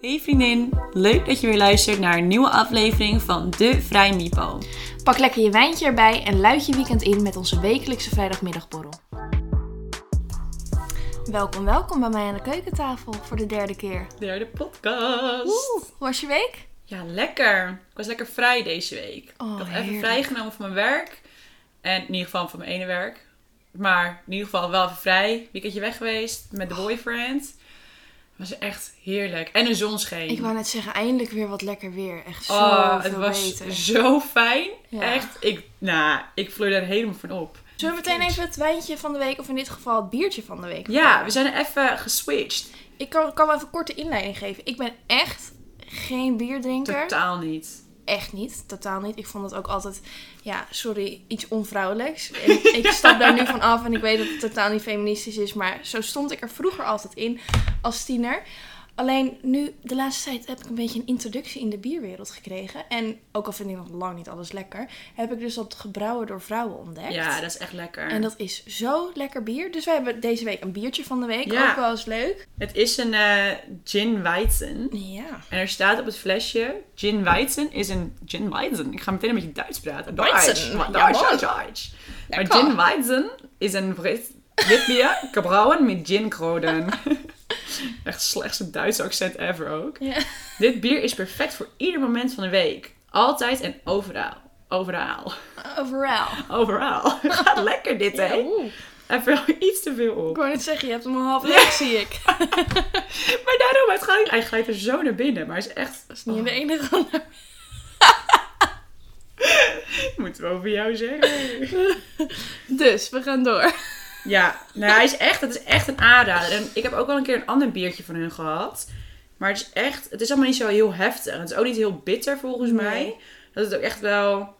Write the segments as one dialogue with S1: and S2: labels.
S1: Hey vriendin, leuk dat je weer luistert naar een nieuwe aflevering van De Vrij Mipo.
S2: Pak lekker je wijntje erbij en luid je weekend in met onze wekelijkse vrijdagmiddagborrel. Welkom, welkom bij mij aan de keukentafel voor de derde keer.
S1: Derde podcast.
S2: Oeh, hoe was je week?
S1: Ja, lekker. Ik was lekker vrij deze week.
S2: Oh,
S1: ik had even
S2: heerlijk.
S1: vrijgenomen van mijn werk. En in ieder geval van mijn ene werk. Maar in ieder geval wel even vrij. Weekendje weg geweest met de boyfriend. was echt heerlijk. En een zon scheen.
S2: Ik wou net zeggen, eindelijk weer wat lekker weer. Echt zo
S1: Oh, het
S2: veel
S1: was
S2: beter.
S1: zo fijn.
S2: Ja.
S1: Echt, ik, nou, ik vloei daar helemaal van op.
S2: Zullen we meteen even het wijntje van de week, of in dit geval het biertje van de week?
S1: Ja, we zijn er even geswitcht.
S2: Ik kan, kan wel even een korte inleiding geven. Ik ben echt geen bierdrinker.
S1: Totaal niet.
S2: Echt niet, totaal niet. Ik vond het ook altijd, ja, sorry, iets onvrouwelijks. Ik, ik stap daar nu van af en ik weet dat het totaal niet feministisch is, maar zo stond ik er vroeger altijd in als tiener. Alleen nu, de laatste tijd, heb ik een beetje een introductie in de bierwereld gekregen. En ook al vind ik nog lang niet alles lekker, heb ik dus dat gebrouwen door vrouwen ontdekt.
S1: Ja, dat is echt lekker.
S2: En dat is zo lekker bier. Dus we hebben deze week een biertje van de week.
S1: Ja.
S2: Ook wel eens leuk.
S1: Het is een eh, gin weizen.
S2: Ja.
S1: En er staat op het flesje, gin weizen is een gin weizen. Ik ga meteen een beetje Duits praten.
S2: Weizen,
S1: Deutsch,
S2: jawohl.
S1: Deutsch, Deutsch. Maar
S2: Lekker.
S1: gin weizen is een Brits- wit bier gebrouwen met ginkroden. Echt het slechtste Duitse accent ever ook.
S2: Ja.
S1: Dit bier is perfect voor ieder moment van de week. Altijd en overal. Overal.
S2: Overall.
S1: Overal. Gaat lekker dit, hè?
S2: Oeh.
S1: Hij viel iets te veel op.
S2: Ik wou net zeggen, je hebt hem al half leeg, zie ik.
S1: Maar daarom, het glijdt, hij glijdt er zo naar binnen. Maar hij is echt...
S2: Dat is niet de enige.
S1: Moeten we over jou zeggen?
S2: Dus, we gaan door.
S1: Ja, nou, hij is echt, het is echt een aanrader. En ik heb ook wel een keer een ander biertje van hun gehad. Maar het is echt, het is allemaal niet zo heel heftig. Het is ook niet heel bitter volgens
S2: Nee.
S1: mij. Dat is ook echt wel,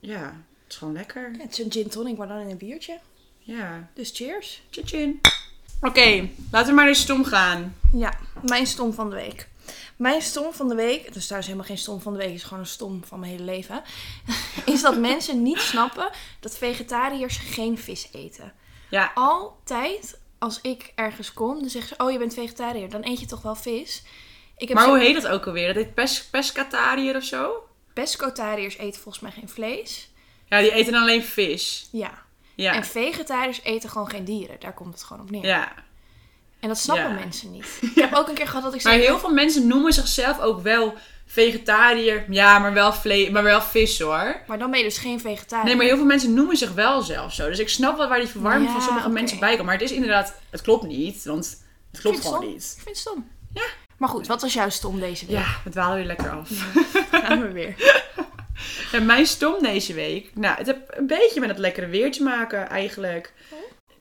S1: ja, het is gewoon lekker.
S2: het is een gin tonic, maar dan in een biertje.
S1: Ja,
S2: Dus cheers.
S1: tjin. Oké, laten we maar naar stom gaan.
S2: Ja, mijn stom van de week. Mijn stom van de week, dus daar is helemaal geen stom van de week, is gewoon een stom van mijn hele leven. Is dat mensen niet snappen dat vegetariërs geen vis eten.
S1: Ja,
S2: Altijd als ik ergens kom, dan zeggen ze: Oh, je bent vegetariër, dan eet je toch wel vis? Ik heb
S1: maar
S2: ze-
S1: hoe heet dat ook alweer? Dat heet pes, pescatariër of zo?
S2: pescotariërs eten volgens mij geen vlees.
S1: Ja, die eten dan alleen vis.
S2: Ja.
S1: Ja,
S2: En vegetariërs eten gewoon geen dieren. Daar komt het gewoon op neer.
S1: ja.
S2: En dat snappen
S1: Ja.
S2: mensen niet. Ik heb ook een keer gehad dat ik
S1: Maar
S2: zei...
S1: heel veel mensen noemen zichzelf ook wel vegetariër. Ja, maar wel, vle maar wel vis hoor.
S2: Maar dan ben je dus geen vegetariër.
S1: Nee, maar heel veel mensen noemen zich wel zelf zo. Dus ik snap wel waar die verwarming
S2: Ja,
S1: van sommige
S2: oké.
S1: mensen bij komt. Maar het is inderdaad, het klopt niet. Want het klopt
S2: Ik vind
S1: gewoon
S2: het stom.
S1: niet.
S2: Ik vind het stom.
S1: Ja.
S2: Maar goed, wat was jouw stom deze week?
S1: Ja, we dwalen weer lekker af.
S2: gaan we weer.
S1: En mijn stom deze week. Nou, het heeft een beetje met het lekkere weer te maken eigenlijk.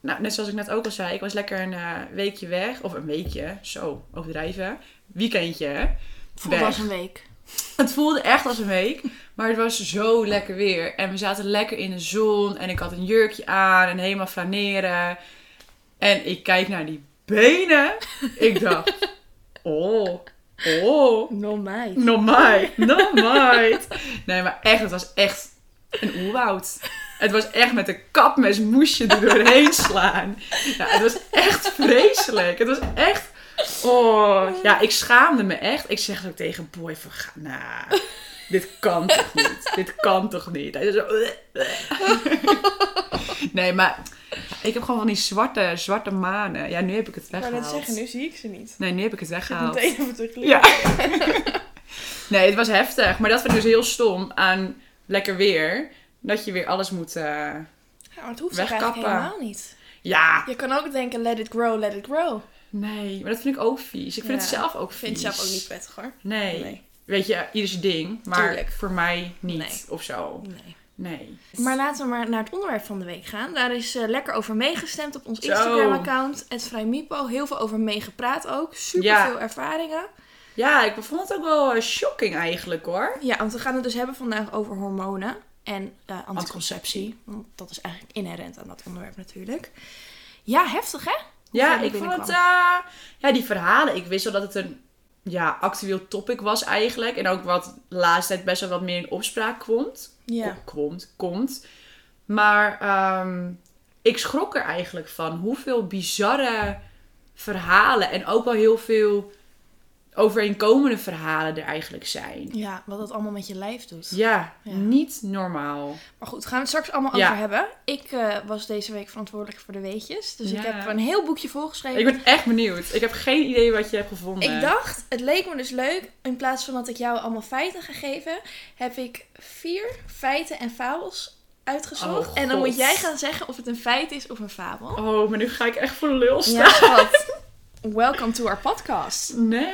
S1: Nou, net zoals ik net ook al zei. Ik was lekker een eh, weekje weg. Of een weekje. Zo, overdrijven. Weekendje. hè.
S2: Voelde
S1: Weg.
S2: als een week.
S1: Het voelde echt als een week, maar het was zo lekker weer. En we zaten lekker in de zon en ik had een jurkje aan en helemaal flaneren. En ik kijk naar die benen. Ik dacht, oh, oh,
S2: No meid.
S1: no might, no might. Nee, maar echt, het was echt een oerwoud. Het was echt met een kapmes moest je er doorheen slaan. Ja, het was echt vreselijk. Het was echt... Oh, ja, ik schaamde me echt. Ik zeg ook tegen Boy van, ga- nou, dit kan toch niet? Dit kan toch niet? Hij zo... Nee, maar ik heb gewoon van die zwarte, zwarte manen. Ja, nu heb ik het
S2: Ik
S1: weggehaald.
S2: wou net zeggen, nu zie ik ze niet.
S1: Nee, nu heb ik het weggehaald.
S2: Meteen even terug.
S1: Ja. nee, het was heftig. Maar dat vind ik dus heel stom aan lekker weer. Dat je weer alles moet... eh,
S2: Ja, maar het hoeft toch eigenlijk
S1: Wegkappen.
S2: helemaal niet.
S1: Ja.
S2: Je kan ook denken, let it grow, let it grow.
S1: Nee, maar dat vind ik ook vies. Ik vind
S2: Ja,
S1: het zelf ook
S2: Ik
S1: vies.
S2: vind het zelf ook niet prettig hoor.
S1: Nee.
S2: Nee.
S1: Weet je, ieder zijn ding. Maar
S2: Tuurlijk.
S1: voor mij niet.
S2: Nee.
S1: Of zo.
S2: Nee.
S1: Nee.
S2: Maar laten we maar naar het onderwerp van de week gaan. Daar is eh, lekker over meegestemd op ons
S1: Zo.
S2: Instagram-account. Het Vrijmipo. Heel veel over meegepraat ook. Super
S1: Ja.
S2: veel ervaringen.
S1: Ja, ik vond het ook wel eh, shocking eigenlijk hoor.
S2: Ja, want we gaan het dus hebben vandaag over hormonen en eh,
S1: Anticonceptie.
S2: anticonceptie. Want dat is eigenlijk inherent aan dat onderwerp natuurlijk. Ja, heftig hè? Hoe zij
S1: Ja,
S2: er
S1: ik vond
S2: binnenkwam.
S1: het... eh, ja, die verhalen. Ik wist wel dat het een ja, actueel topic was eigenlijk. En ook wat de laatste tijd best wel wat meer in opspraak komt.
S2: Ja.
S1: Kom- komt, komt. Maar ehm, ik schrok er eigenlijk van hoeveel bizarre verhalen en ook wel heel veel overeenkomende verhalen er eigenlijk zijn.
S2: Ja, wat dat allemaal met je lijf doet.
S1: Ja,
S2: Ja.
S1: niet normaal.
S2: Maar goed, gaan we het straks allemaal
S1: Ja.
S2: over hebben. Ik eh, was deze week verantwoordelijk voor de weetjes. Dus ik
S1: Ja.
S2: heb een heel boekje volgeschreven.
S1: Ik ben echt benieuwd. Ik heb geen idee wat je hebt gevonden.
S2: Ik dacht, het leek me dus leuk. In plaats van dat ik jou allemaal feiten ga geven, heb ik vier feiten en fabels uitgezocht.
S1: Oh,
S2: en dan
S1: God.
S2: moet jij gaan zeggen of het een feit is of een fabel.
S1: Oh, maar nu ga ik echt voor lul staan.
S2: Ja, schat. Welcome to our podcast.
S1: Nou.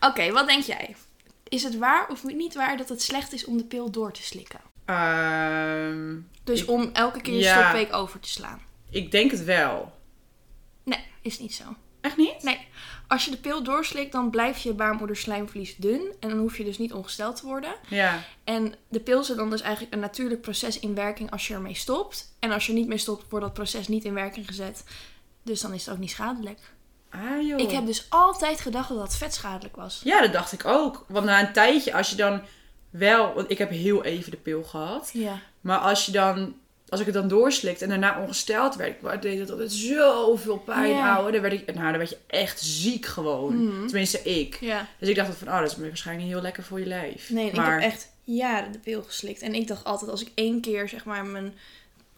S2: Oké, wat denk jij? Is het waar of niet waar dat het slecht is om de pil door te slikken?
S1: Ehm,
S2: Dus
S1: Ik-
S2: om elke keer je
S1: Ja.
S2: stopweek over te slaan.
S1: ik denk het wel.
S2: Nee, is niet zo.
S1: Echt niet?
S2: Nee, als je de pil doorslikt, dan blijft je baarmoederslijmvlies dun. En dan hoef je dus niet ongesteld te worden.
S1: Ja.
S2: En de pil zet dan dus eigenlijk een natuurlijk proces in werking als je ermee stopt. En als je er niet mee stopt, wordt dat proces niet in werking gezet. Dus dan is het ook niet schadelijk.
S1: Ah joh.
S2: Ik heb dus altijd gedacht dat dat vet schadelijk was.
S1: Ja, dat dacht ik ook. Want na een tijdje, als je dan wel... Want ik heb heel even de pil gehad.
S2: Ja.
S1: Maar als je dan... Als ik het dan doorslikt en daarna ongesteld werd, maar het deed dat altijd zoveel pijn,
S2: Ja. Mhm.
S1: ouwe. Dan werd, ik, nou, dan werd je echt ziek gewoon. Tenminste, ik.
S2: Ja.
S1: Dus ik dacht van, oh, dat is waarschijnlijk niet heel lekker voor je lijf.
S2: Nee, en
S1: maar,
S2: ik heb echt jaren de pil geslikt. En ik dacht altijd, als ik één keer zeg maar mijn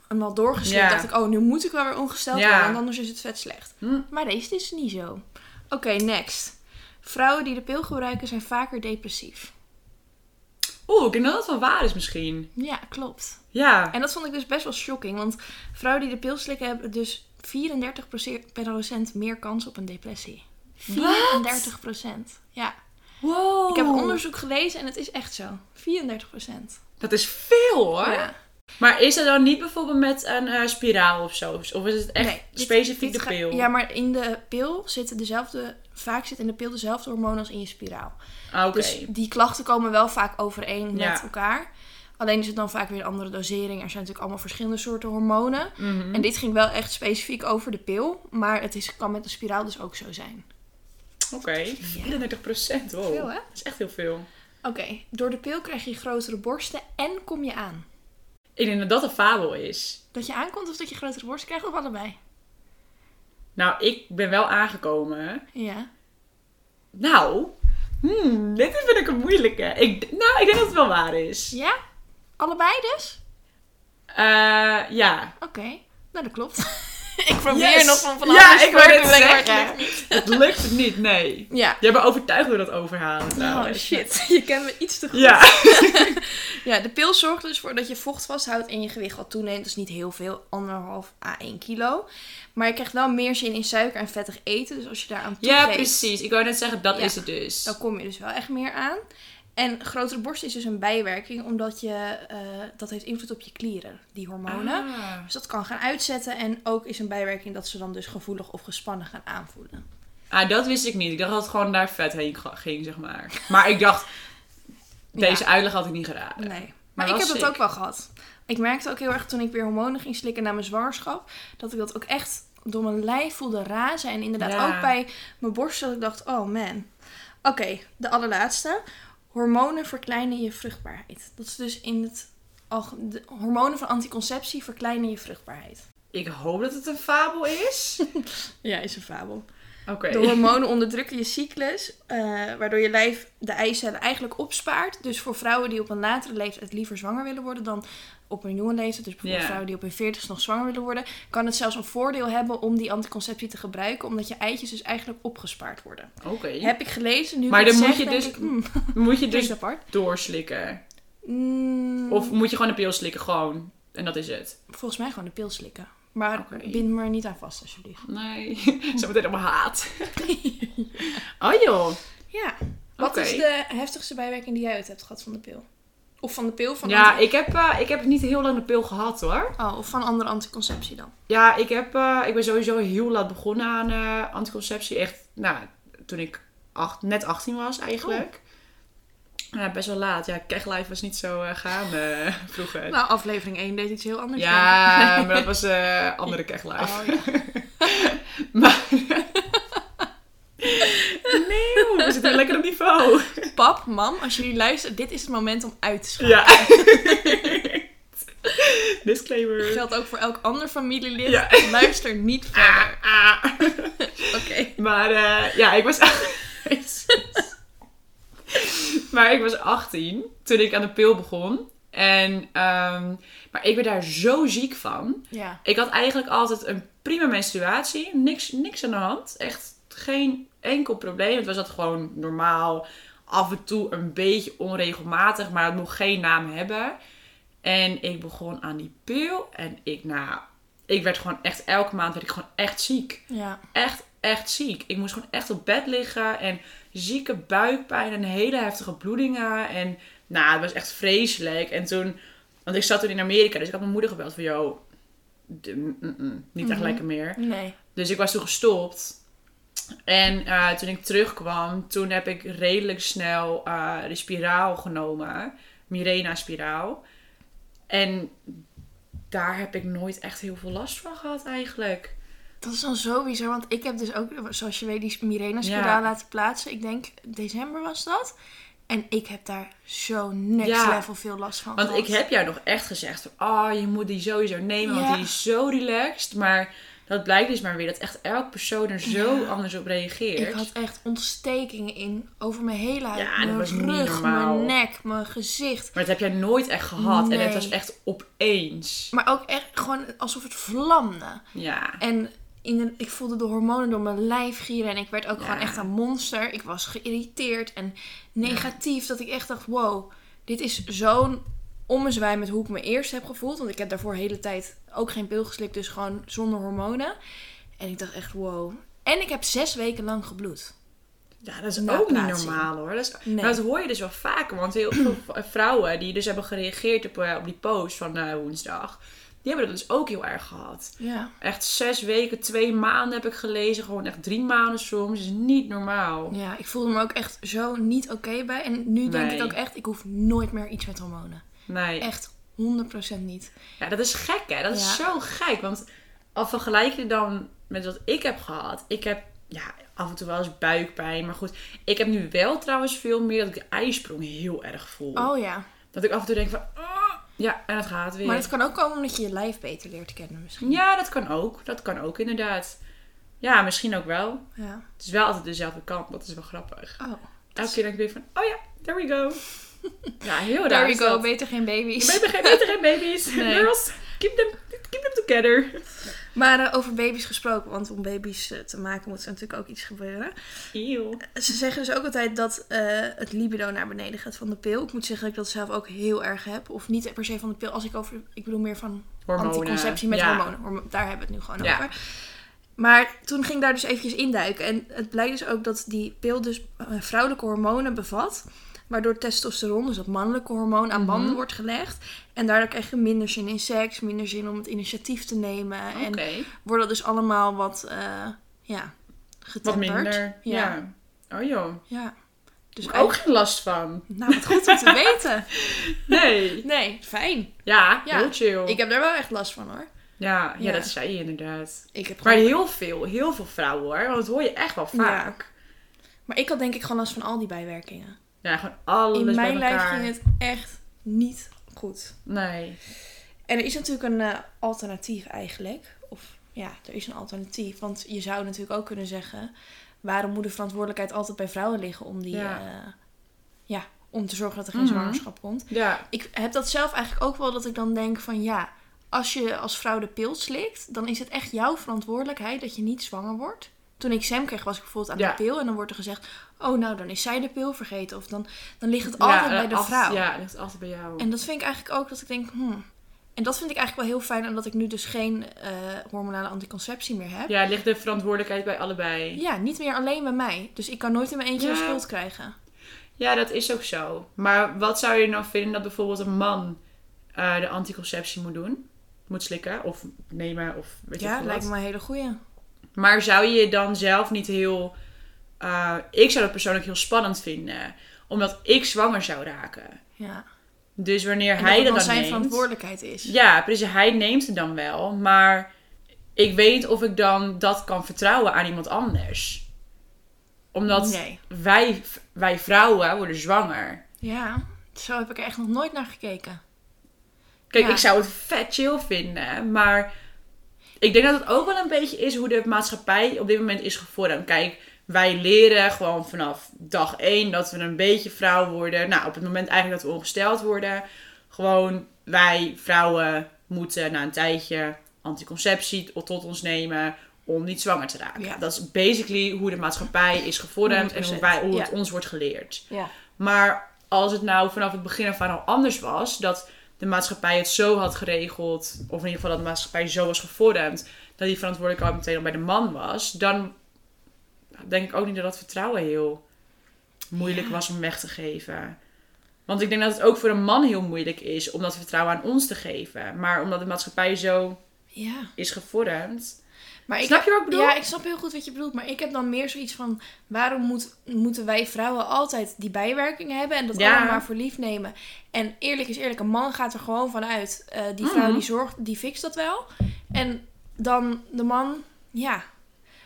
S2: hem had doorgeslikt,
S1: Ja.
S2: dacht ik, oh, nu moet ik wel weer ongesteld
S1: Ja.
S2: worden, want anders is het vet slecht.
S1: Hm.
S2: Maar deze is niet zo. Oké, next. Vrouwen die de pil gebruiken zijn vaker depressief.
S1: Oeh, ik denk dat dat wel waar is misschien.
S2: Ja, klopt.
S1: Ja.
S2: En dat vond ik dus best wel shocking, want vrouwen die de pil slikken hebben dus 34% meer kans op een depressie. 34%. Ja.
S1: Wow.
S2: Ik heb onderzoek gelezen en het is echt zo. 34%.
S1: Dat is veel hoor.
S2: Ja.
S1: Maar is dat dan niet bijvoorbeeld met een eh, spiraal of zo? Of is het echt
S2: Nee, dit-
S1: specifiek
S2: dit
S1: de
S2: ga-
S1: pil?
S2: Ja, maar in de pil zitten dezelfde... Vaak zit in de pil dezelfde hormonen als in je spiraal.
S1: Ah, Oké.
S2: Dus die klachten komen wel vaak overeen
S1: Ja.
S2: met elkaar. Alleen is het dan vaak weer een andere dosering. Er zijn natuurlijk allemaal verschillende soorten hormonen.
S1: Mhm.
S2: En dit ging wel echt specifiek over de pil. Maar het is, kan met een spiraal dus ook zo zijn.
S1: Oké. 34 wow.
S2: Veel, hè?
S1: Dat is echt heel veel.
S2: Oké, door de pil krijg je grotere borsten en kom je aan.
S1: Ik denk dat dat een fabel is.
S2: Dat je aankomt of dat je grotere borsten krijgt of allebei?
S1: Nou, ik ben wel aangekomen.
S2: Ja.
S1: Nou, hmm, dit vind ik een moeilijke. Ik, nou, ik denk dat het wel waar is.
S2: Ja? Allebei dus?
S1: Eh, ja.
S2: Oké, nou dat klopt. ik probeer
S1: Yes.
S2: nog van
S1: Ja,
S2: vanavond
S1: ik wou
S2: te
S1: net
S2: brengen, maar
S1: zeggen.
S2: het lukt niet.
S1: Het lukt niet, nee.
S2: Ja.
S1: Jij bent overtuigd door dat overhalen
S2: Oh
S1: trouwens.
S2: shit, je kent me iets te goed.
S1: Ja.
S2: Ja, de pil zorgt er dus voor dat je vocht vasthoudt en je gewicht wat toeneemt. Dat is niet heel veel, anderhalf à 1 kilo. Maar je krijgt wel meer zin in suiker en vettig eten. Dus als je daaraan toegeeft,
S1: Ja, precies. Ik wou net zeggen, dat
S2: Ja.
S1: is het dus.
S2: dan kom je dus wel echt meer aan. En grotere borst is dus een bijwerking, omdat je, eh, dat heeft invloed op je klieren, die hormonen.
S1: Ah.
S2: Dus dat kan gaan uitzetten en ook is een bijwerking dat ze dan dus gevoelig of gespannen gaan aanvoelen.
S1: Ah, dat wist ik niet. Ik dacht dat het gewoon daar vet heen ga- ging, zeg maar. Maar ik dacht, deze uitleg had ik niet geraden.
S2: Nee.
S1: Maar
S2: Maar ik
S1: wel
S2: heb dat
S1: sick.
S2: ook wel gehad. Ik merkte ook heel erg toen ik weer hormonen ging slikken na mijn zwangerschap, dat ik dat ook echt door mijn lijf voelde razen. En inderdaad
S1: Ja.
S2: ook bij mijn borst dat ik dacht, oh man. Oké, de allerlaatste. Hormonen verkleinen je vruchtbaarheid. Dat is dus in het... alge- de hormonen van anticonceptie verkleinen je vruchtbaarheid.
S1: Ik hoop dat het een fabel is.
S2: Ja, is een fabel.
S1: Oké.
S2: De hormonen onderdrukken je cyclus, eh, waardoor je lijf de eicellen eigenlijk opspaart. Dus voor vrouwen die op een latere leeftijd liever zwanger willen worden dan op een jonge leeftijd, dus bijvoorbeeld
S1: Ja.
S2: vrouwen die op hun veertigste nog zwanger willen worden, kan het zelfs een voordeel hebben om die anticonceptie te gebruiken, omdat je eitjes dus eigenlijk opgespaard worden.
S1: Oké.
S2: Heb ik gelezen, nu ik
S1: Maar
S2: het
S1: dan moet
S2: zeg,
S1: je
S2: denk
S1: dus-
S2: ik, hmm,
S1: Moet je dus
S2: klinkt apart.
S1: doorslikken?
S2: Mm,
S1: Of moet je gewoon een pil slikken? Gewoon. En dat is het.
S2: Volgens mij gewoon de pil slikken. Maar
S1: Oké.
S2: bind me er niet aan vast, alsjeblieft.
S1: Nee. Zo meteen allemaal haat. Oh joh.
S2: Ja. Wat
S1: Oké.
S2: is de heftigste bijwerking die jij uit hebt gehad van de pil? Of van de pil van
S1: Ja, ik heb, eh, ik heb niet heel lang de pil gehad hoor.
S2: Oh, of van andere anticonceptie dan?
S1: Ja, ik, heb, eh, ik ben sowieso heel laat begonnen aan eh, anticonceptie. Echt, nou, toen ik acht, net 18 was eigenlijk. Ja, best wel laat. Ja, keglife was niet zo eh, gaande eh, vroeger.
S2: Nou, aflevering 1 deed iets heel anders.
S1: ja, maar dat was eh, andere keglife.
S2: Oh, ja.
S1: Maar... Oh, nee, we zitten weer lekker op niveau.
S2: Pap, mam, als jullie luisteren, dit is het moment om uit te schakelen.
S1: Ja. Disclaimer.
S2: Dat geldt ook voor elk ander familielid.
S1: Ja.
S2: Luister niet verder.
S1: Ah, ah.
S2: Oké.
S1: Maar eh, ja, ik was... Jezus. Maar ik was 18 toen ik aan de pil begon. En, ehm, maar ik werd daar zo ziek van.
S2: Ja.
S1: Ik had eigenlijk altijd een prima menstruatie. Niks, niks aan de hand. Echt geen enkel probleem. Het was dat gewoon normaal. Af en toe een beetje onregelmatig, maar het mocht geen naam hebben. En ik begon aan die pil. En ik, nou, ik werd gewoon echt, elke maand werd ik gewoon echt ziek
S2: Ja.
S1: echt, echt ziek. Ik moest gewoon echt op bed liggen en zieke buikpijn en hele heftige bloedingen. En nou, het was echt vreselijk. En toen, want ik zat toen in Amerika, dus ik had mijn moeder gebeld van, joh, d- mm, mm, mm, niet echt
S2: Mhm.
S1: lekker meer.
S2: Nee.
S1: Dus ik was toen gestopt. En eh, toen ik terugkwam, toen heb ik redelijk snel eh, de spiraal genomen. Mirena-spiraal. En daar heb ik nooit echt heel veel last van gehad eigenlijk.
S2: Dat is dan zo bizar, want ik heb dus ook, zoals je weet, die Mirena-spiraal
S1: Ja.
S2: laten plaatsen. Ik denk december was dat. En ik heb daar zo next
S1: Ja.
S2: level veel last van
S1: Want
S2: gehad.
S1: ik heb jou nog echt gezegd van, oh, je moet die sowieso nemen,
S2: Ja.
S1: want die is zo relaxed. Maar dat blijkt dus maar weer dat echt elk persoon er zo anders op reageert.
S2: Ik had echt ontstekingen in over mijn hele huid.
S1: Ja, dat
S2: mijn
S1: was niet
S2: rug,
S1: normaal.
S2: mijn nek, mijn gezicht.
S1: Maar dat heb jij nooit echt gehad. En
S2: Nee.
S1: het was echt opeens.
S2: Maar ook echt gewoon alsof het vlamde.
S1: Ja.
S2: En in de- ik voelde de hormonen door mijn lijf gieren. En ik werd ook
S1: Ja.
S2: gewoon echt een monster. Ik was geïrriteerd en negatief. Dat ik echt dacht, wow, dit is zo'n ommezwaai met hoe ik me eerst heb gevoeld. Want ik heb daarvoor de hele tijd ook geen pil geslikt. Dus gewoon zonder hormonen. En ik dacht echt, wow. En ik heb zes weken lang gebloed.
S1: Ja, dat is
S2: Na
S1: ook niet
S2: plaatsing.
S1: normaal hoor. Dat, is-
S2: Nee.
S1: maar dat hoor je dus wel vaker. Want heel veel v- vrouwen die dus hebben gereageerd op, eh, op die post van eh, woensdag. Die hebben dat dus ook heel erg gehad.
S2: Ja.
S1: Echt zes weken, twee maanden heb ik gelezen. Gewoon echt drie maanden soms. is niet normaal.
S2: Ja, ik voelde me ook echt zo niet oké bij. En nu denk
S1: Nee.
S2: ik ook echt, ik hoef nooit meer iets met hormonen.
S1: Nee.
S2: Echt 100% niet.
S1: Ja, dat is gek, hè? Dat is
S2: Ja.
S1: zo gek. Want al vergelijk je dan met wat ik heb gehad. Ik heb ja, af en toe wel eens buikpijn. Maar goed, ik heb nu wel trouwens veel meer dat ik de ijsprong heel erg voel.
S2: Oh ja.
S1: Dat ik af en toe denk van... "Ah." ja, en het gaat weer.
S2: Maar het kan ook komen omdat je je lijf beter leert kennen misschien.
S1: Ja, dat kan ook. Dat kan ook inderdaad. Ja, misschien ook wel.
S2: Ja.
S1: Het is wel altijd dezelfde kant. Dat is wel grappig.
S2: Oh.
S1: Elke keer denk ik weer van... Oh ja, there we go. Ja, heel raar.
S2: There we
S1: is
S2: go,
S1: dat.
S2: beter geen baby's.
S1: Beter geen, beter geen baby's.
S2: Nee.
S1: Girls, keep them, keep them together.
S2: Maar eh, over baby's gesproken, want om baby's eh, te maken moet er natuurlijk ook iets gebeuren.
S1: Eeuw.
S2: Ze zeggen dus ook altijd dat eh, het libido naar beneden gaat van de pil. Ik moet zeggen dat ik dat zelf ook heel erg heb. Of niet per se van de pil, als ik over... Ik bedoel meer van
S1: Hormonen.
S2: anticonceptie met
S1: Ja.
S2: hormonen. Hormo- Daar hebben we het nu gewoon
S1: Ja.
S2: over. Maar toen ging ik daar dus eventjes induiken. En het blijkt dus ook dat die pil dus eh, vrouwelijke hormonen bevat. Waardoor testosteron, dus dat mannelijke hormoon, aan banden
S1: Mhm.
S2: wordt gelegd. En daardoor krijg je minder zin in seks, minder zin om het initiatief te nemen. En
S1: Oké.
S2: worden dus allemaal wat, eh, ja,
S1: Wat
S2: getemperd.
S1: minder.
S2: Ja.
S1: Ja. Oh joh.
S2: ja. Dus
S1: Dus ook
S2: ook...
S1: geen last van.
S2: Nou, wat goed om te weten.
S1: Nee.
S2: Nee, fijn.
S1: Ja,
S2: Ja.
S1: heel chill.
S2: Ik heb daar wel echt last van hoor.
S1: Ja, ja,
S2: Ja.
S1: dat zei je inderdaad.
S2: Ik heb
S1: Maar
S2: gewoon...
S1: heel veel, heel veel vrouwen hoor. Want dat hoor je echt wel vaak.
S2: maar ik had denk ik gewoon last van al die bijwerkingen.
S1: Ja, gewoon alles
S2: In
S1: dus bij
S2: mijn
S1: elkaar.
S2: lijf ging het echt niet goed.
S1: Nee.
S2: En er is natuurlijk een eh, alternatief eigenlijk. Of ja, er is een alternatief. Want je zou natuurlijk ook kunnen zeggen... waarom moet de verantwoordelijkheid altijd bij vrouwen liggen... om, die,
S1: Ja.
S2: eh, ja, om te zorgen dat er geen
S1: Mhm.
S2: zwangerschap komt.
S1: Ja.
S2: Ik heb dat zelf eigenlijk ook wel dat ik dan denk van... ja, als je als vrouw de pil slikt... dan is het echt jouw verantwoordelijkheid dat je niet zwanger wordt. Toen ik Sam kreeg was ik bijvoorbeeld aan
S1: Ja.
S2: de pil... en dan wordt er gezegd... oh nou, dan is zij de pil vergeten. Of dan, dan ligt het
S1: ja, eh,
S2: altijd bij de
S1: als-
S2: vrouw.
S1: Ja, ligt altijd bij jou.
S2: En dat vind ik eigenlijk ook dat ik denk, hmm. En dat vind ik eigenlijk wel heel fijn, omdat ik nu dus geen eh, hormonale anticonceptie meer heb. Ja.
S1: Ja, ligt de verantwoordelijkheid bij allebei.
S2: niet meer alleen bij mij. Dus ik kan nooit in mijn eentje
S1: Ja.
S2: een schuld krijgen.
S1: Ja, dat is ook zo. Maar wat zou je nou vinden dat bijvoorbeeld een man eh, de anticonceptie moet doen? Moet slikken of nemen of weet je
S2: ja,
S1: wat.
S2: lijkt me een hele goeie.
S1: Maar zou je dan zelf niet heel. eh, ik zou dat persoonlijk heel spannend vinden, omdat ik zwanger zou raken.
S2: Ja.
S1: Dus wanneer
S2: En dat
S1: hij
S2: het
S1: dat
S2: dan
S1: dan
S2: zijn
S1: neemt.
S2: verantwoordelijkheid is.
S1: Ja, precies. Hij neemt het dan wel, maar ik weet niet of ik dan dat kan vertrouwen aan iemand anders. Omdat
S2: Nee.
S1: wij, wij vrouwen worden zwanger.
S2: Ja, zo heb ik er echt nog nooit naar gekeken.
S1: Kijk,
S2: Ja.
S1: ik zou het vet chill vinden, maar ik denk dat het ook wel een beetje is hoe de maatschappij op dit moment is gevormd. Kijk, wij leren gewoon vanaf dag één dat we een beetje vrouw worden. Nou, op het moment eigenlijk dat we ongesteld worden. Gewoon wij vrouwen moeten na een tijdje anticonceptie tot ons nemen om niet zwanger te raken.
S2: Ja.
S1: Dat is basically hoe de maatschappij is gevormd en hoe,
S2: 100%,
S1: wij, hoe het
S2: ja.
S1: ons wordt geleerd.
S2: Ja.
S1: Maar als het nou vanaf het begin af aan al anders was, dat de maatschappij het zo had geregeld, of in ieder geval dat de maatschappij zo was gevormd, dat die verantwoordelijkheid meteen al bij de man was, dan denk ik ook niet dat dat vertrouwen heel moeilijk was om weg te geven. Want ik denk dat het ook voor een man heel moeilijk is om dat vertrouwen aan ons te geven. Maar omdat de maatschappij zo
S2: Ja.
S1: is gevormd.
S2: Maar ik,
S1: Snap je wat ik bedoel?
S2: Ja, ik snap heel goed wat je bedoelt. Maar ik heb dan meer zoiets van... waarom moet, moeten wij vrouwen altijd die bijwerkingen hebben... en dat
S1: Ja.
S2: allemaal maar voor lief nemen? En eerlijk is eerlijk, een man gaat er gewoon vanuit. eh die vrouw
S1: Mhm.
S2: die zorgt, die fixt dat wel. En dan de man, ja...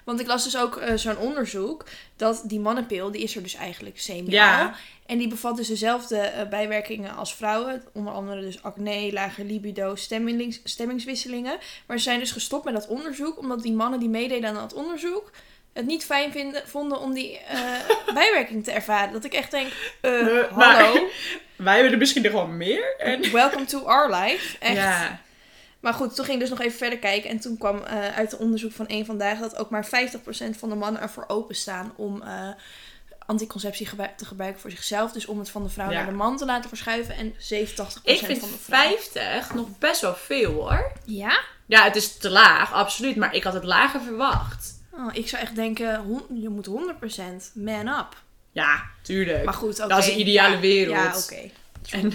S2: Want ik las dus ook eh, zo'n onderzoek dat die mannenpil, die is er dus eigenlijk semi
S1: Ja.
S2: En die bevat dus dezelfde eh, bijwerkingen als vrouwen. Onder andere dus acne, lage libido, stemmings, stemmingswisselingen. Maar ze zijn dus gestopt met dat onderzoek. Omdat die mannen die meededen aan dat onderzoek het niet fijn vinden, vonden om die eh, bijwerking te ervaren. Dat ik echt denk, eh,
S1: Eh, maar-
S2: hallo,
S1: Wij hebben er misschien nog wel meer. En...
S2: welcome to our life. Echt.
S1: Ja.
S2: Maar goed, toen ging ik dus nog even verder kijken. En toen kwam eh, uit het onderzoek van één vandaag dat ook maar 50% van de mannen ervoor openstaan om eh, anticonceptie gebru- te gebruiken voor zichzelf. Dus om het van de vrouw
S1: Ja.
S2: naar de man te laten verschuiven. En 87%
S1: Ik vind
S2: van de vrouw.
S1: 50 nog best wel veel hoor.
S2: Ja?
S1: Ja, het is te laag, absoluut. Maar ik had het lager verwacht.
S2: Oh, ik zou echt denken, hon- je moet 100% man up.
S1: Ja, tuurlijk.
S2: Maar goed, oké.
S1: Dat is de ideale
S2: Ja,
S1: wereld.
S2: Ja, oké.
S1: En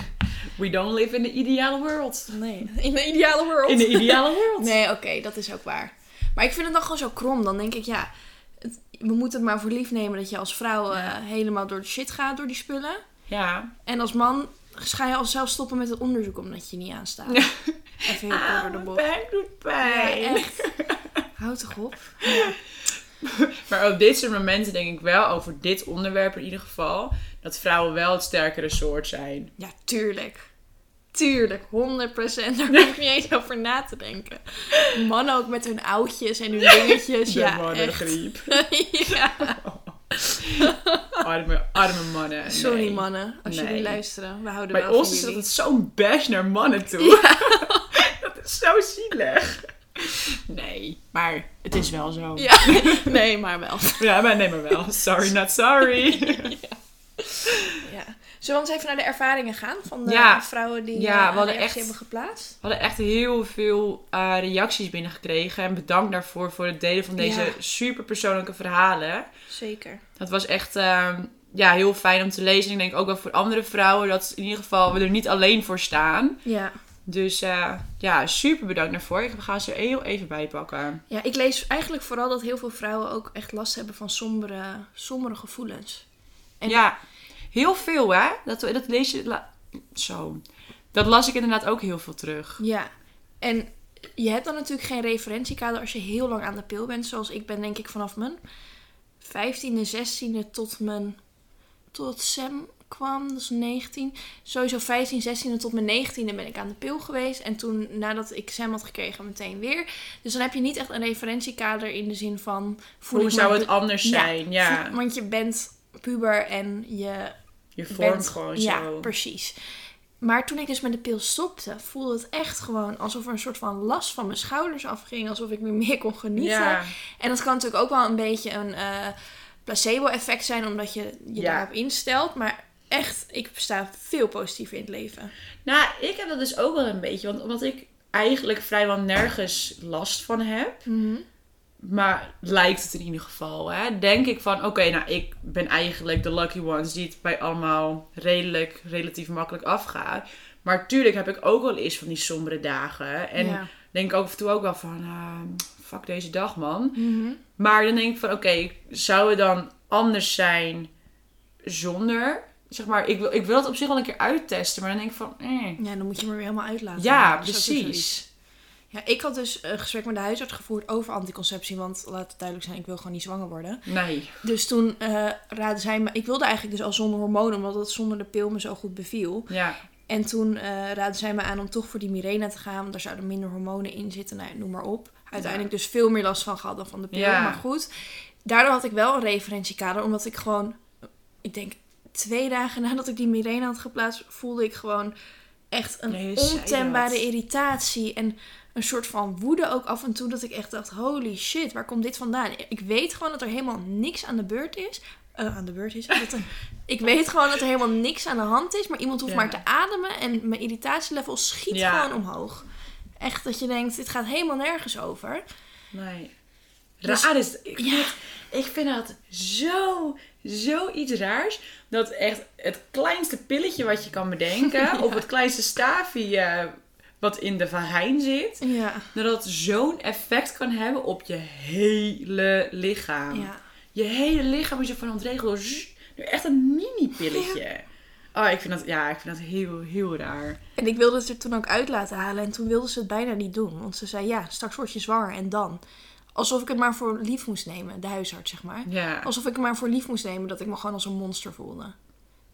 S1: we don't live in the ideale world.
S2: Nee. In de ideale wereld.
S1: In de ideale wereld.
S2: Nee, oké, dat is ook waar. Maar ik vind het dan gewoon zo krom. Dan denk ik, ja, het- we moeten het maar voor lief nemen dat je als vrouw eh, helemaal door de shit gaat door die spullen.
S1: Ja.
S2: En als man ga je al zelf stoppen met het onderzoek omdat je niet aanstaat.
S1: Ja.
S2: Even heel kort door de bocht.
S1: Ah, pijn doet
S2: Ja,
S1: pijn.
S2: echt. Houd toch op.
S1: Maar op dit soort momenten denk ik wel, over dit onderwerp in ieder geval, dat vrouwen wel het sterkere soort zijn.
S2: Ja, tuurlijk. Tuurlijk, 100%. Daar hoef je niet eens over na te denken. Mannen ook met hun oudjes en hun dingetjes.
S1: De
S2: ja, echt.
S1: mannengriep.
S2: ja.
S1: Arme, arme mannen. nee.
S2: Sorry mannen, als
S1: Nee.
S2: jullie luisteren. We houden
S1: Bij
S2: wel
S1: ons
S2: van
S1: is
S2: jullie.
S1: dat zo'n bash naar mannen toe. dat is zo zielig. Nee, maar het is wel zo. Ja,
S2: Ja, nee, maar wel.
S1: maar nee, maar wel. Sorry, not sorry.
S2: Ja. Zullen we eens even naar de ervaringen gaan van de
S1: Ja.
S2: vrouwen die
S1: Ja,
S2: ja,
S1: we
S2: we
S1: hadden echt-
S2: echt... hebben geplaatst?
S1: We hadden echt heel veel eh, reacties binnengekregen. En bedankt daarvoor voor het delen van deze
S2: Ja.
S1: super persoonlijke verhalen.
S2: Zeker.
S1: Dat was echt ehm, ja, heel fijn om te lezen. En ik denk ook wel voor andere vrouwen dat in ieder geval we er niet alleen voor staan.
S2: Ja.
S1: Dus eh, ja, super bedankt daarvoor. Ik ga ze er heel even bij pakken.
S2: ja, ik lees eigenlijk vooral dat heel veel vrouwen ook echt last hebben van sombere, sombere gevoelens. En-
S1: Ja, heel veel hè. Dat, dat lees je... la- zo. Dat las ik inderdaad ook heel veel terug.
S2: Ja. En je hebt dan natuurlijk geen referentiekader als je heel lang aan de pil bent. Zoals ik ben denk ik vanaf mijn 15e, 16e tot mijn... Tot Sam kwam, dat is 19. Sowieso 15, 16e tot mijn 19e ben ik aan de pil geweest. En toen, nadat ik Sam had gekregen, meteen weer. Dus dan heb je niet echt een referentiekader in de zin van... voel
S1: Hoe
S2: ik
S1: zou
S2: me-
S1: het anders
S2: Ja,
S1: zijn? Ja,
S2: voel- Want je bent puber en je
S1: je vormt
S2: bent-
S1: gewoon
S2: ja,
S1: zo.
S2: precies. Maar toen ik dus met de pil stopte, voelde het echt gewoon alsof er een soort van last van mijn schouders afging. Alsof ik weer meer kon genieten.
S1: Ja,
S2: En dat kan natuurlijk ook wel een beetje een eh, placebo-effect zijn, omdat je je
S1: Ja.
S2: daarop instelt. Maar echt, ik sta veel positiever in het leven.
S1: Nou, ik heb dat dus ook wel een beetje. Want omdat ik eigenlijk vrijwel nergens last van heb.
S2: Mhm.
S1: Maar lijkt het in ieder geval. Hè, denk ik van, oké, nou ik ben eigenlijk de lucky ones die het bij allemaal redelijk, relatief makkelijk afgaat. Maar tuurlijk heb ik ook wel eens van die sombere dagen. En
S2: Ja.
S1: denk ik ook af en toe ook wel van, eh, fuck deze dag man.
S2: Mhm.
S1: Maar dan denk ik van, oké, zou het dan anders zijn zonder... Zeg maar, ik wil, ik wil het op zich wel een keer uittesten. Maar dan denk ik van, eh,
S2: Ja, dan moet je me weer helemaal uitlaten.
S1: ja,
S2: Dat is ook weer zoiets.
S1: precies.
S2: Ja, ik had dus een gesprek met de huisarts gevoerd over anticonceptie. Want laat het duidelijk zijn, ik wil gewoon niet zwanger worden.
S1: Nee.
S2: Dus toen eh raadde zij me... Ik wilde eigenlijk dus al zonder hormonen, omdat het zonder de pil me zo goed beviel.
S1: Ja.
S2: En toen eh raadde zij me aan om toch voor die Mirena te gaan. Want daar zouden minder hormonen in zitten, nou, ja, noem maar op. Uiteindelijk dus veel meer last van gehad dan van de pil,
S1: Ja.
S2: maar goed. daardoor had ik wel een referentiekader, omdat ik gewoon, ik denk twee dagen nadat ik die migraine had geplaatst, voelde ik gewoon echt een
S1: Ja, je zei
S2: ontembare
S1: dat.
S2: irritatie en een soort van woede ook af en toe dat ik echt dacht, holy shit, waar komt dit vandaan? Ik weet gewoon dat er helemaal niks aan de beurt is. Eh, aan de beurt is. Dat er- ik weet gewoon dat er helemaal niks aan de hand is, maar iemand hoeft
S1: Ja.
S2: maar te ademen en mijn irritatielevel schiet
S1: Ja.
S2: gewoon omhoog. Echt dat je denkt, dit gaat helemaal nergens over.
S1: Nee.
S2: Dus-
S1: Raar is ik,
S2: Ja.
S1: ik vind dat zo, zoiets raars. Dat echt het kleinste pilletje wat je kan bedenken... of het kleinste staafje eh, wat in de vagijn zit...
S2: Ja.
S1: dat dat zo'n effect kan hebben op je hele lichaam.
S2: Ja.
S1: Je hele lichaam is ervan ontregeld door zzz, nu echt een mini-pilletje. Oh, ik vind dat, ja, ik vind dat heel, heel raar.
S2: En ik wilde het er toen ook uit laten halen. En toen wilde ze het bijna niet doen. Want ze zei, ja, straks word je zwanger en dan. Alsof ik het maar voor lief moest nemen. De huisarts, zeg maar.
S1: Ja.
S2: Alsof ik het maar voor lief moest nemen dat ik me gewoon als een monster voelde. en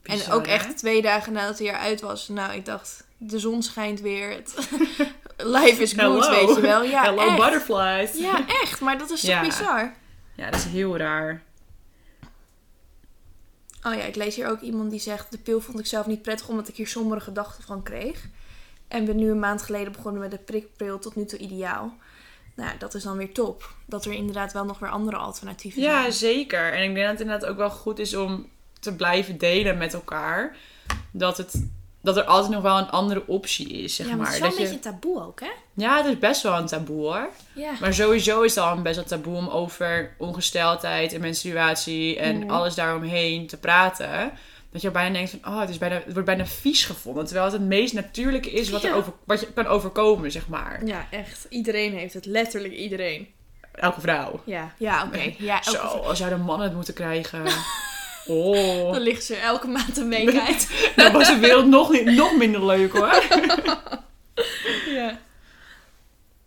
S1: Bizar,
S2: ook
S1: hè?
S2: echt twee dagen nadat hij eruit was. Nou, ik dacht, de zon schijnt weer. Het... Life is good,
S1: Hello.
S2: weet je wel. Ja,
S1: Hello
S2: echt.
S1: butterflies.
S2: Ja, echt. Maar dat is toch
S1: Ja.
S2: bizar?
S1: ja, dat is heel raar.
S2: Oh ja, ik lees hier ook iemand die zegt: De pil vond ik zelf niet prettig omdat ik hier sombere gedachten van kreeg. En ben nu een maand geleden begonnen met de prikpil, tot nu toe ideaal. Nou, ja, dat is dan weer top. Dat er inderdaad wel nog weer andere alternatieven
S1: Ja,
S2: zijn.
S1: zeker. En ik denk dat het inderdaad ook wel goed is om te blijven delen met elkaar. Dat, het, dat er altijd nog wel een andere optie is, zeg
S2: ja, maar
S1: maar.
S2: het is wel
S1: dat
S2: een
S1: je...
S2: beetje taboe ook, hè?
S1: Ja, het is best wel een taboe hoor.
S2: Ja.
S1: Maar sowieso is het al een best wel taboe om over ongesteldheid en menstruatie en
S2: Mhm.
S1: alles daaromheen te praten. Dat je bijna denkt van, oh, het, is bijna, het wordt bijna vies gevonden. Terwijl het het meest natuurlijke is wat, er
S2: Ja.
S1: over, wat je kan overkomen, zeg maar.
S2: Ja, echt. Iedereen heeft het. Letterlijk iedereen.
S1: Elke vrouw.
S2: Ja, ja oké. Ja, elke
S1: Zo, als zouden mannen het moeten krijgen. Oh,
S2: Dan ligt ze er elke maand een week uit.
S1: dan was de wereld nog, niet- nog minder leuk hoor.
S2: ja.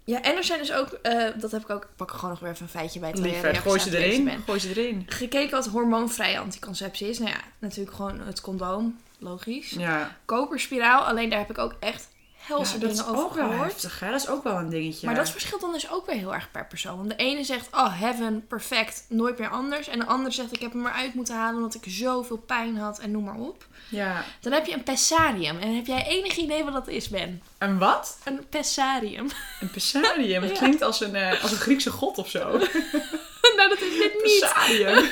S2: Ja, en er zijn dus ook, eh, dat heb ik ook, ik pak er gewoon nog weer even een feitje bij. terwijl jij
S1: Lieverd,
S2: weer
S1: gooi ze
S2: even aan het lezen
S1: erin.
S2: bent.
S1: Gooi ze erin.
S2: gekeken wat hormoonvrije anticonceptie is. Nou ja, natuurlijk gewoon het condoom, logisch.
S1: Ja,
S2: Koperspiraal, alleen daar heb ik ook echt helse
S1: Ja, dat is
S2: dingen over
S1: ook wel
S2: gehoord.
S1: heftig hè. Dat is ook wel een dingetje.
S2: Maar dat verschilt dan dus ook weer heel erg per persoon. Want de ene zegt, oh heaven, perfect, nooit meer anders. En de ander zegt, ik heb hem eruit moeten halen omdat ik zoveel pijn had en noem maar op.
S1: Ja.
S2: Dan heb je een pessarium. En heb jij enig idee wat dat is, Ben?
S1: En wat?
S2: Een pessarium.
S1: Een pessarium. Het
S2: Ja.
S1: klinkt als een, eh, als een Griekse god of zo.
S2: nou, dat is dit niet.
S1: Pessarium.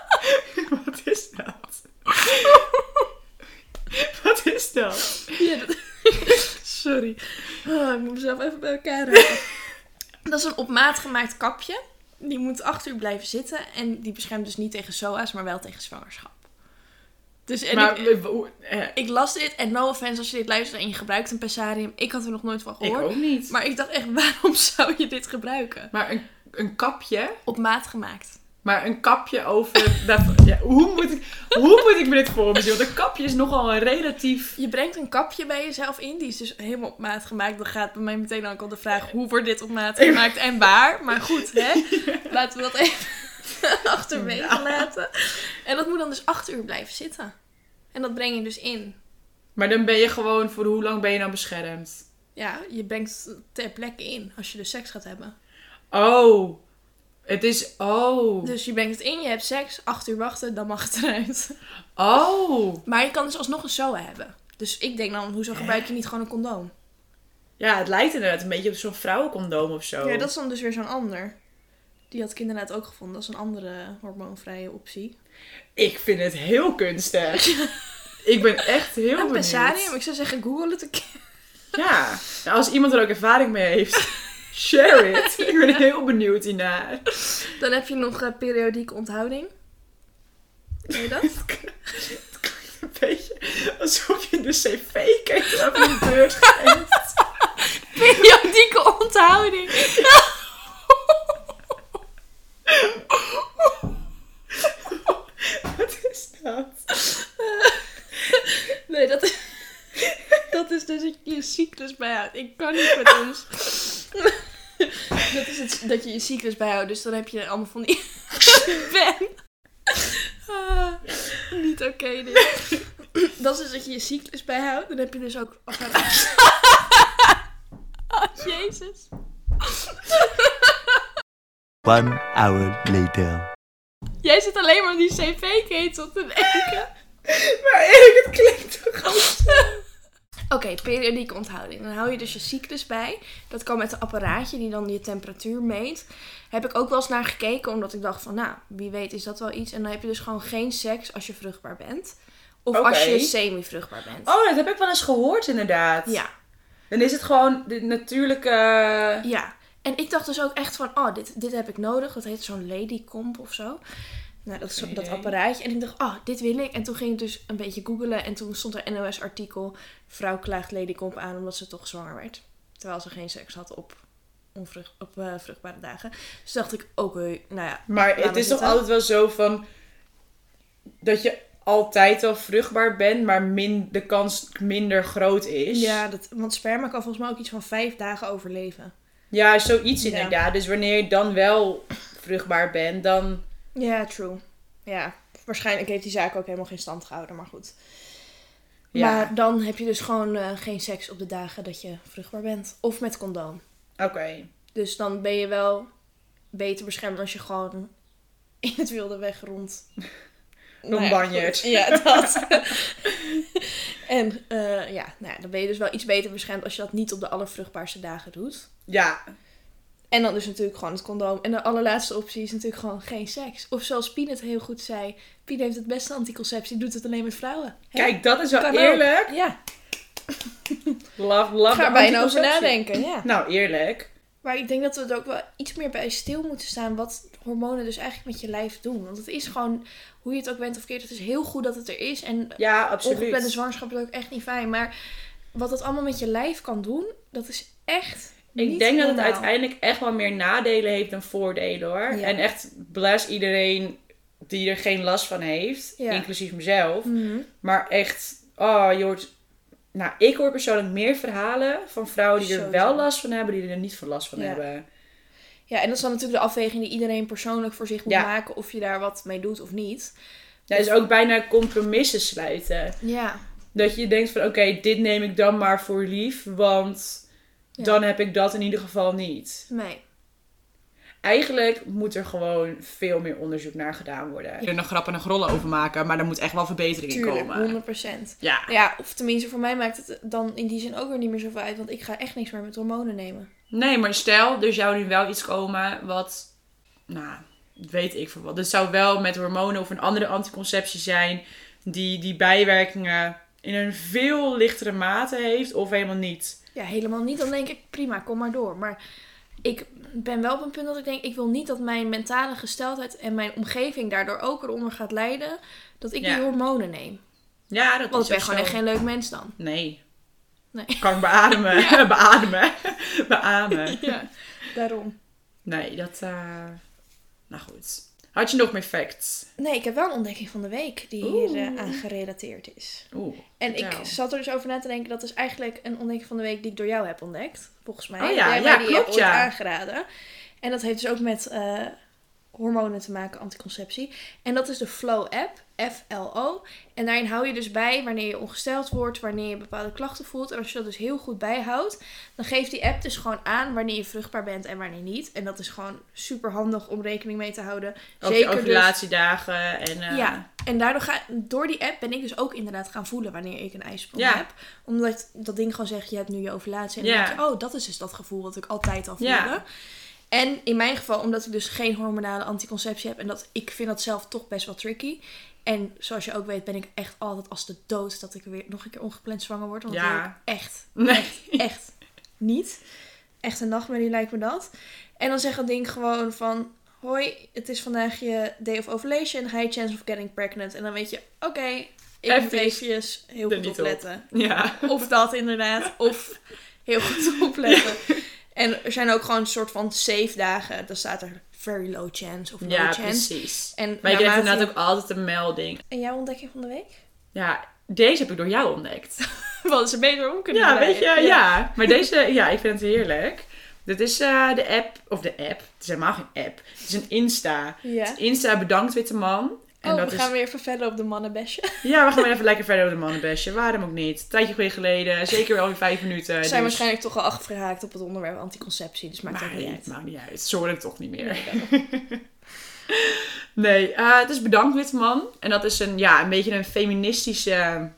S1: Wat is dat? Wat is dat?
S2: Ja, dat- Sorry. Oh, ik moet mezelf even bij elkaar raken. dat is een op maat gemaakt kapje. Die moet acht uur blijven zitten. En die beschermt dus niet tegen SOA's, maar wel tegen zwangerschap. Dus en
S1: maar
S2: ik,
S1: we- we- hoe- eh,
S2: ik las dit. En no offense als je dit luistert en je gebruikt een pessarium. Ik had er nog nooit van
S1: ik
S2: gehoord.
S1: ook niet. Maar,
S2: Maar ik dacht echt, waarom zou je dit gebruiken?
S1: een, een kapje.
S2: Op maat gemaakt.
S1: Maar een kapje over. dat- ja, hoe, moet ik, hoe moet ik me dit voor me zien? Want een kapje is nogal een relatief.
S2: Je brengt een kapje bij jezelf in. Die is dus helemaal op maat gemaakt. Dan gaat bij mij meteen ook al de vraag: hoe wordt dit op maat gemaakt en waar? Maar goed, hè? laten we dat even achterwege laten. En dat moet dan dus acht uur blijven zitten. En dat breng je dus in.
S1: Maar dan ben je gewoon. Voor hoe lang ben je nou beschermd?
S2: Ja, je brengt het ter plekke in als je dus seks gaat hebben.
S1: Oh. Het is. Oh.
S2: Dus je brengt het in, je hebt seks, acht uur wachten, dan mag het eruit.
S1: Oh.
S2: Maar je kan dus alsnog een SOA hebben. Dus ik denk dan, hoezo gebruik je niet gewoon een condoom?
S1: Ja, het lijkt inderdaad een beetje op zo'n vrouwencondoom of zo.
S2: Ja, dat is dan dus weer zo'n ander. Die had ik inderdaad ook gevonden. Dat is een andere hormoonvrije optie.
S1: Ik vind het heel kunstig. ik ben echt heel
S2: een
S1: benieuwd.
S2: pessarium. Ik zou zeggen, google het een keer.
S1: Ja. Nou, als iemand er ook ervaring mee heeft, share it. Ik ben heel benieuwd hiernaar.
S2: Dan heb je nog eh, periodieke onthouding. Weet je dat?
S1: Een beetje alsof je in de cv kijkt en op je deur schijnt.
S2: periodieke onthouding.
S1: Wat is dat?
S2: nee, dat is... Dat is dus dat je je cyclus bijhoudt. Ik kan niet met ons. dat is het, dat je je cyclus bijhoudt. Dus dan heb je allemaal van die... ben. Ah, niet oké dit. dat is dus dat je je cyclus bijhoudt. Dan heb je dus ook... oh, jezus.
S3: One hour later.
S2: Jij zit alleen maar aan die cv-ketel te denken.
S1: Maar Erik, het klinkt toch als...
S2: Oké, periodieke onthouding. Dan hou je dus je cyclus bij. Dat kan met een apparaatje die dan je temperatuur meet. Heb ik ook wel eens naar gekeken, omdat ik dacht van, nou, wie weet is dat wel iets. En dan heb je dus gewoon geen seks als je vruchtbaar bent. Of als je
S1: Oké.
S2: semi-vruchtbaar bent.
S1: Oh, dat heb ik wel eens gehoord inderdaad.
S2: Ja,
S1: Dan is het gewoon de natuurlijke...
S2: ja. En ik dacht dus ook echt van, oh, dit, dit heb ik nodig. Dat heet zo'n lady comp of zo. Nou, dat is
S1: Geen
S2: dat
S1: idee.
S2: apparaatje. En ik dacht, oh, dit wil ik. En toen ging ik dus een beetje googelen. En toen stond er NOS-artikel, vrouw klaagt lady comp aan omdat ze toch zwanger werd. Terwijl ze geen seks had op, onvrucht, op eh, vruchtbare dagen. Dus dacht ik, oké, nou ja.
S1: Maar
S2: Laat
S1: het
S2: maar
S1: is toch
S2: zitten.
S1: altijd wel zo van... Dat je altijd wel vruchtbaar bent, maar min, de kans minder groot is.
S2: Ja, dat, want sperma kan volgens mij ook iets van vijf dagen overleven.
S1: Ja, zoiets
S2: Ja.
S1: inderdaad. Dus wanneer je dan wel vruchtbaar bent, dan...
S2: Ja, true. Ja, waarschijnlijk heeft die zaak ook helemaal geen stand gehouden, maar goed.
S1: Ja.
S2: Maar dan heb je dus gewoon eh, geen seks op de dagen dat je vruchtbaar bent. Of met condoom.
S1: Oké.
S2: Dus dan ben je wel beter beschermd als je gewoon in het wilde weg rond...
S1: Nou Rondbanjert.
S2: goed. Ja, dat. en eh, ja, nou ja, dan ben je dus wel iets beter beschermd als je dat niet op de allervruchtbaarste dagen doet.
S1: Ja.
S2: En dan is natuurlijk gewoon het condoom. En de allerlaatste optie is natuurlijk gewoon geen seks. Of zoals Pien het heel goed zei. Pien heeft het beste anticonceptie, doet het alleen met vrouwen. Hè?
S1: Kijk, dat is wel
S2: Kan ook.
S1: eerlijk.
S2: Ja,
S1: Love, love.
S2: ga
S1: de
S2: er bijna over
S1: anticonceptie.
S2: nadenken. Ja.
S1: Nou, eerlijk.
S2: Maar ik denk dat we er ook wel iets meer bij stil moeten staan. Wat hormonen dus eigenlijk met je lijf doen. Want het is gewoon, hoe je het ook bent of keert, het is heel goed dat het er is. En
S1: Ja, absoluut.
S2: ongeplande zwangerschap is ook echt niet fijn. Maar wat het allemaal met je lijf kan doen, dat is echt
S1: Ik
S2: niet
S1: denk dat het
S2: normaal.
S1: uiteindelijk echt wel meer nadelen heeft dan voordelen hoor.
S2: Ja.
S1: En echt bless iedereen die er geen last van heeft,
S2: Ja.
S1: inclusief mezelf.
S2: Mhm.
S1: Maar echt, oh, je hoort. Nou, ik hoor persoonlijk meer verhalen van vrouwen die er
S2: Sowieso.
S1: wel last van hebben, die er niet veel last van
S2: Ja.
S1: hebben.
S2: Ja, en dat is dan natuurlijk de afweging die iedereen persoonlijk voor zich moet
S1: Ja.
S2: maken of je daar wat mee doet of niet.
S1: Ja, dus ook bijna compromissen sluiten.
S2: Ja.
S1: Dat je denkt van oké, dit neem ik dan maar voor lief, want
S2: Ja.
S1: dan heb ik dat in ieder geval niet.
S2: Nee.
S1: Eigenlijk moet er gewoon veel meer onderzoek naar gedaan worden. Je er nog grappen en grollen over maken, maar er moet echt wel verbetering
S2: Tuurlijk, 100%.
S1: Ja.
S2: Ja, of tenminste, voor mij maakt het dan in die zin ook weer niet meer zoveel uit, want ik ga echt niks meer met hormonen nemen.
S1: Nee, maar stel, er zou nu wel iets komen wat, nou, weet ik veel wat. Het zou wel met hormonen of een andere anticonceptie zijn die die bijwerkingen in een veel lichtere mate heeft of helemaal niet.
S2: Ja, helemaal niet. Dan denk ik, prima, kom maar door. Maar ik ben wel op een punt dat ik denk, ik wil niet dat mijn mentale gesteldheid en mijn omgeving daardoor ook eronder gaat leiden dat ik
S1: Ja.
S2: die hormonen neem.
S1: Ja, dat is
S2: Want ik
S1: ook
S2: ben gewoon
S1: zo.
S2: echt geen leuk mens dan.
S1: Nee.
S2: Nee.
S1: Kan ik beademen. beademen. Beamen.
S2: Ja, daarom.
S1: Nee, dat... eh, Nou goed. Had je nog meer facts?
S2: Nee, ik heb wel een ontdekking van de week die hier eh, aan gerelateerd is.
S1: Oeh.
S2: En ik
S1: Vertel.
S2: zat er dus over na te denken, dat is eigenlijk een ontdekking van de week die ik door jou heb ontdekt, volgens mij.
S1: Oh ja,
S2: Jij hebt
S1: ja,
S2: mij die
S1: klopt,
S2: app ooit
S1: ja.
S2: aangeraden. En dat heeft dus ook met eh, hormonen te maken, anticonceptie. En dat is de Flow app, F-L-O. En daarin hou je dus bij wanneer je ongesteld wordt, wanneer je bepaalde klachten voelt. En als je dat dus heel goed bijhoudt, dan geeft die app dus gewoon aan wanneer je vruchtbaar bent en wanneer niet. En dat is gewoon super handig om rekening mee te houden.
S1: Over je ovulatiedagen en... eh,
S2: dus. Ja, en daardoor ga, door die app ben ik dus ook inderdaad gaan voelen wanneer ik een ijsprong
S1: Ja.
S2: heb. Omdat dat ding gewoon zegt, je hebt nu je ovulatie. En
S1: Ja.
S2: dan denk je, oh, dat is dus dat gevoel wat ik altijd al voelde.
S1: Ja.
S2: En in mijn geval, omdat ik dus geen hormonale anticonceptie heb. En dat, ik vind dat zelf toch best wel tricky. En zoals je ook weet, ben ik echt altijd als de dood dat ik weer nog een keer ongepland zwanger word. Want dat
S1: Ja.
S2: wil ik echt
S1: Nee.
S2: echt niet. Echt een nachtmerrie lijkt me dat. En dan zegt dat ding gewoon van... Hoi, het is vandaag je day of ovulation. High chance of getting pregnant. En dan weet je, oké, ik moet
S1: Even
S2: eventjes heel
S1: er
S2: goed
S1: niet op.
S2: opletten.
S1: Ja.
S2: Of dat inderdaad. Of heel goed opletten. En er zijn ook gewoon een soort van safe dagen. Dan staat er very low chance of no
S1: Ja,
S2: chance.
S1: precies.
S2: En
S1: Maar je krijgt
S2: naarmate
S1: inderdaad
S2: Nou, je-
S1: ook altijd een melding.
S2: En jouw ontdekking van de week?
S1: Ja, deze heb ik door jou ontdekt.
S2: Wat ze beter om kunnen
S1: Ja,
S2: draaien.
S1: weet je, ja. Maar deze, ja, ik vind het heerlijk. Dit is eh, de app, of de app, het is helemaal geen app. Het is een Insta.
S2: Ja.
S1: Het is Insta bedankt witte man. En
S2: oh,
S1: dat
S2: we
S1: is-
S2: gaan weer even verder op de mannenbesje.
S1: Ja, we gaan weer even lekker verder op de mannenbestje. Waarom ook niet? Tijdje weer geleden. Zeker wel weer vijf minuten.
S2: We
S1: dus-
S2: zijn waarschijnlijk toch al afgeraakt op het onderwerp anticonceptie, dus maakt
S1: Maar
S2: ook niet
S1: ja,
S2: uit.
S1: het maakt niet uit. Zo ik toch niet meer. Nee, eh, het is Bedankt Witman. En dat is een, ja, een beetje een feministische...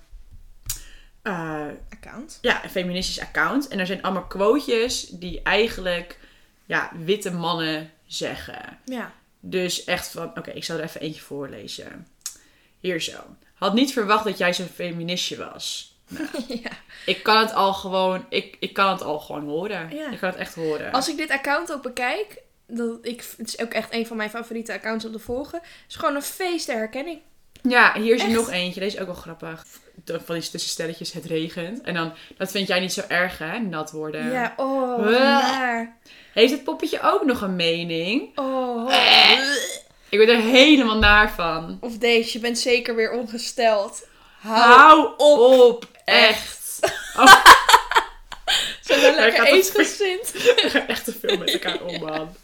S1: eh,
S2: Account.
S1: ja, een feministisch account. En er zijn allemaal quotejes die eigenlijk ja, witte mannen zeggen.
S2: Ja.
S1: Dus echt van, oké, ik zal er even eentje voorlezen. Hier zo. Had niet verwacht dat jij zo'n feministje was. Nou,
S2: ja.
S1: Ik kan het al gewoon, ik, ik kan het al gewoon horen.
S2: Ja.
S1: Ik kan het echt horen.
S2: Als ik dit account ook bekijk, dat ik, het is ook echt een van mijn favoriete accounts om te volgen. Het is gewoon een feest der herkenning.
S1: Ja, hier is er
S2: Echt?
S1: nog eentje. Deze is ook wel grappig. De- Van die tussenstelletjes, het regent. En dan, dat vind jij niet zo erg hè, nat worden.
S2: Ja, oh, wat
S1: Bleh.
S2: naar.
S1: Heeft het poppetje ook nog een mening?
S2: Oh.
S1: Ik word er helemaal naar van.
S2: Of deze, je bent zeker weer ongesteld.
S1: Hou op. Echt.
S2: Zijn we
S1: Daar
S2: lekker
S1: gaat het
S2: eens
S1: weer.
S2: gezind?
S1: We gaan echt te veel met elkaar om, man.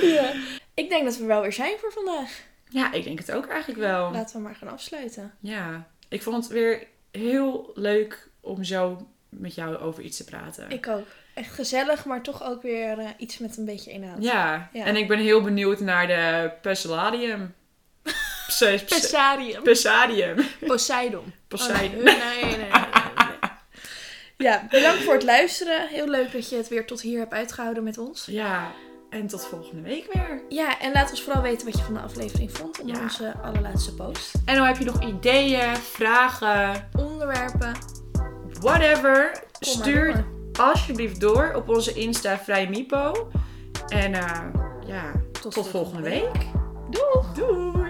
S2: ja. Ik denk dat we wel weer zijn voor vandaag.
S1: Ja, ik denk het ook eigenlijk wel.
S2: Laten we maar gaan afsluiten.
S1: Ja. Ik vond het weer heel leuk om zo met jou over iets te praten.
S2: Ik ook. Echt gezellig, maar toch ook weer eh, iets met een beetje inhoud.
S1: Ja.
S2: Ja.
S1: En ik ben heel benieuwd naar de Pessaladium. Pse- pse-
S2: Pessarium.
S1: Pessadium.
S2: Poseidon.
S1: Poseidon.
S2: Oh, nee. Nee, nee, nee, nee, nee. Ja, bedankt voor het luisteren. Heel leuk dat je het weer tot hier hebt uitgehouden met ons.
S1: Ja. En tot volgende week weer.
S2: Ja, en laat ons vooral weten wat je van de aflevering vond onder
S1: Ja.
S2: onze allerlaatste post.
S1: En dan heb je nog ideeën, vragen,
S2: Onderwerpen.
S1: whatever.
S2: Kom maar
S1: Stuur
S2: door.
S1: alsjeblieft door op onze Insta Vrij Mipo. En eh, ja, tot, volgende week.
S2: Doeg!
S1: Doei!